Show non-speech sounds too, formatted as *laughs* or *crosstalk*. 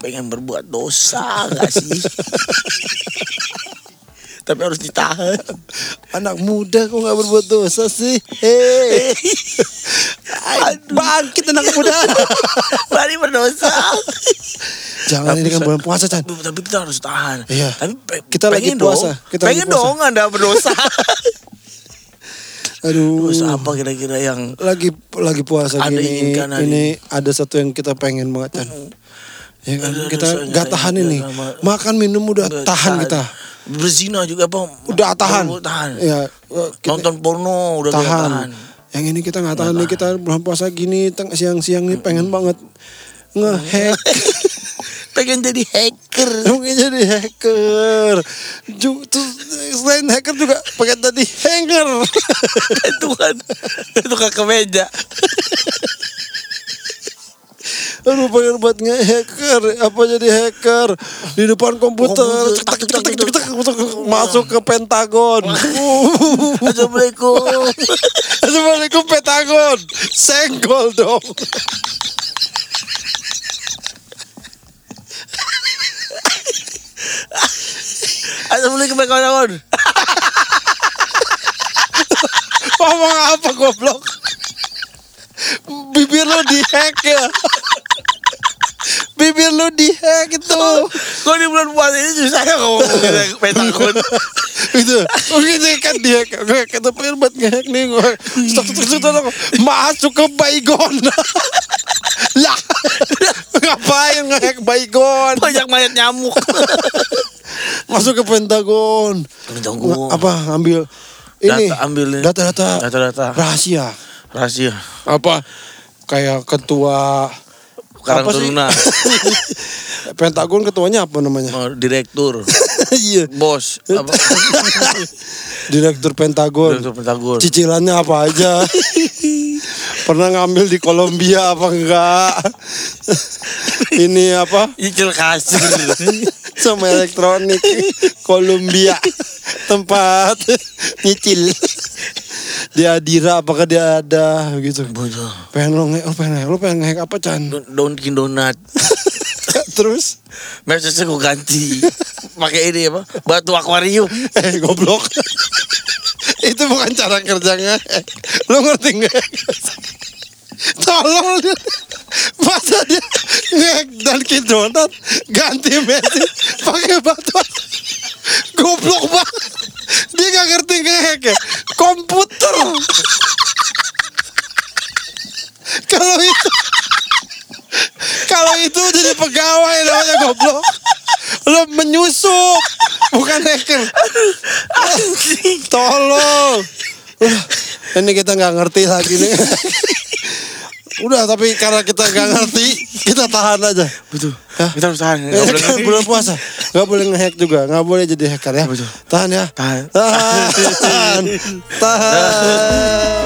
pengen berbuat dosa gak *laughs* sih? Tapi harus ditahan. Anak muda kok nggak berbuat dosa sih? Hei, bangkit anak muda. *laughs* Mari berdosa. *laughs* Jangan ini kan Tapi- bulan puasa, Chan. Tapi kita harus tahan. Iya. Tapi pe- Kita lagi pengen dong. puasa, kita lagi pengen puasa. dong Anda *laughs* berdosa. Aduh. Dosa apa kira-kira yang Lagi lagi puasa Ada gini. inginkan hari Ini ada satu yang kita pengen banget, Chan. Ya kan? Aduh, kita dosa yang gak kita tahan inginkan ini. sama- Makan minum udah Nggak tahan kita. Berzina juga apa? Udah tahan. Udah tahan. Ya, kita- Nonton porno udah tahan. tahan. tahan. Yang ini kita nggak tahan Hmm. nih kita bulan puasa gini teng- siang-siang nih pengen banget *laughs* ngehack. Pengen jadi *laughs* hacker. Mungkin jadi hacker. Ju- terus selain hacker juga pakai tadi hanger. Itu kan tukang kemeja. Aduh pengen buat nge-hacker Apa jadi hacker Di depan komputer Komputer. cetak, cetak, cetak, cetak, cetak, Masuk ke Pentagon Uh. Assalamualaikum. *laughs* Assalamualaikum Pentagon Senggol dong Assalamualaikum kawan-kawan. Ngomong apa goblok Bibir lu di-hack ya Bibir lu di-hack itu Kok di bulan puasa ini susah ya *laughs* ngomong petakun. *laughs* Gitu Oh gitu kan di-hack Gue kata pengen buat nge-hack nih gue Stok stok stok stok Masuk ke Baygon *laughs* Lah *laughs* Ngapain nge-hack Baygon Banyak mayat *laughs* nyamuk. Masuk ke Pentagon Pentagon. Apa ngambil ini Data, ambil ini. data-data Data-data. rahasia Rahasia. apa kayak ketua Karang apa sih? turunan. *laughs* Pentagon ketuanya apa *laughs* namanya? Mau Direktur. Iya. Bos. *laughs* Apa? Direktur Pentagon. Direktur Pentagon. Cicilannya apa aja? Pernah ngambil di Kolombia apa enggak? Ini apa? Cicil kasih. *laughs* Sama elektronik Kolombia tempat nyicil. Di Adira apakah dia ada gitu? Bodoh. Pengen lo nge, lo pengen nge, lo pengen nge apa Chan? Donkin donat. Terus? Mesesnya gue ganti. Pakai ini apa? Batu akuarium. *laughs* Eh goblok Itu bukan cara kerjanya Lu ngerti gak? *laughs* Tolong dia. *laughs* Masa dia ngek dan kidonat Ganti Messi *laughs* pakai batu Goblok banget Dia gak ngerti ngek ya Komputer *laughs* Kalau itu *laughs* Kalau itu jadi pegawai namanya goblok Lu menyusup Bukan hacker Tolong. Wah, ini kita nggak ngerti lagi nih. Udah tapi karena kita nggak ngerti, kita tahan aja. Betul. Hah? Kita harus tahan. Nggak boleh Kan ngerti. bulan puasa, nggak boleh ngehack juga, nggak boleh jadi hacker ya. Betul. Tahan ya. Tahan. Tahan. Tahan.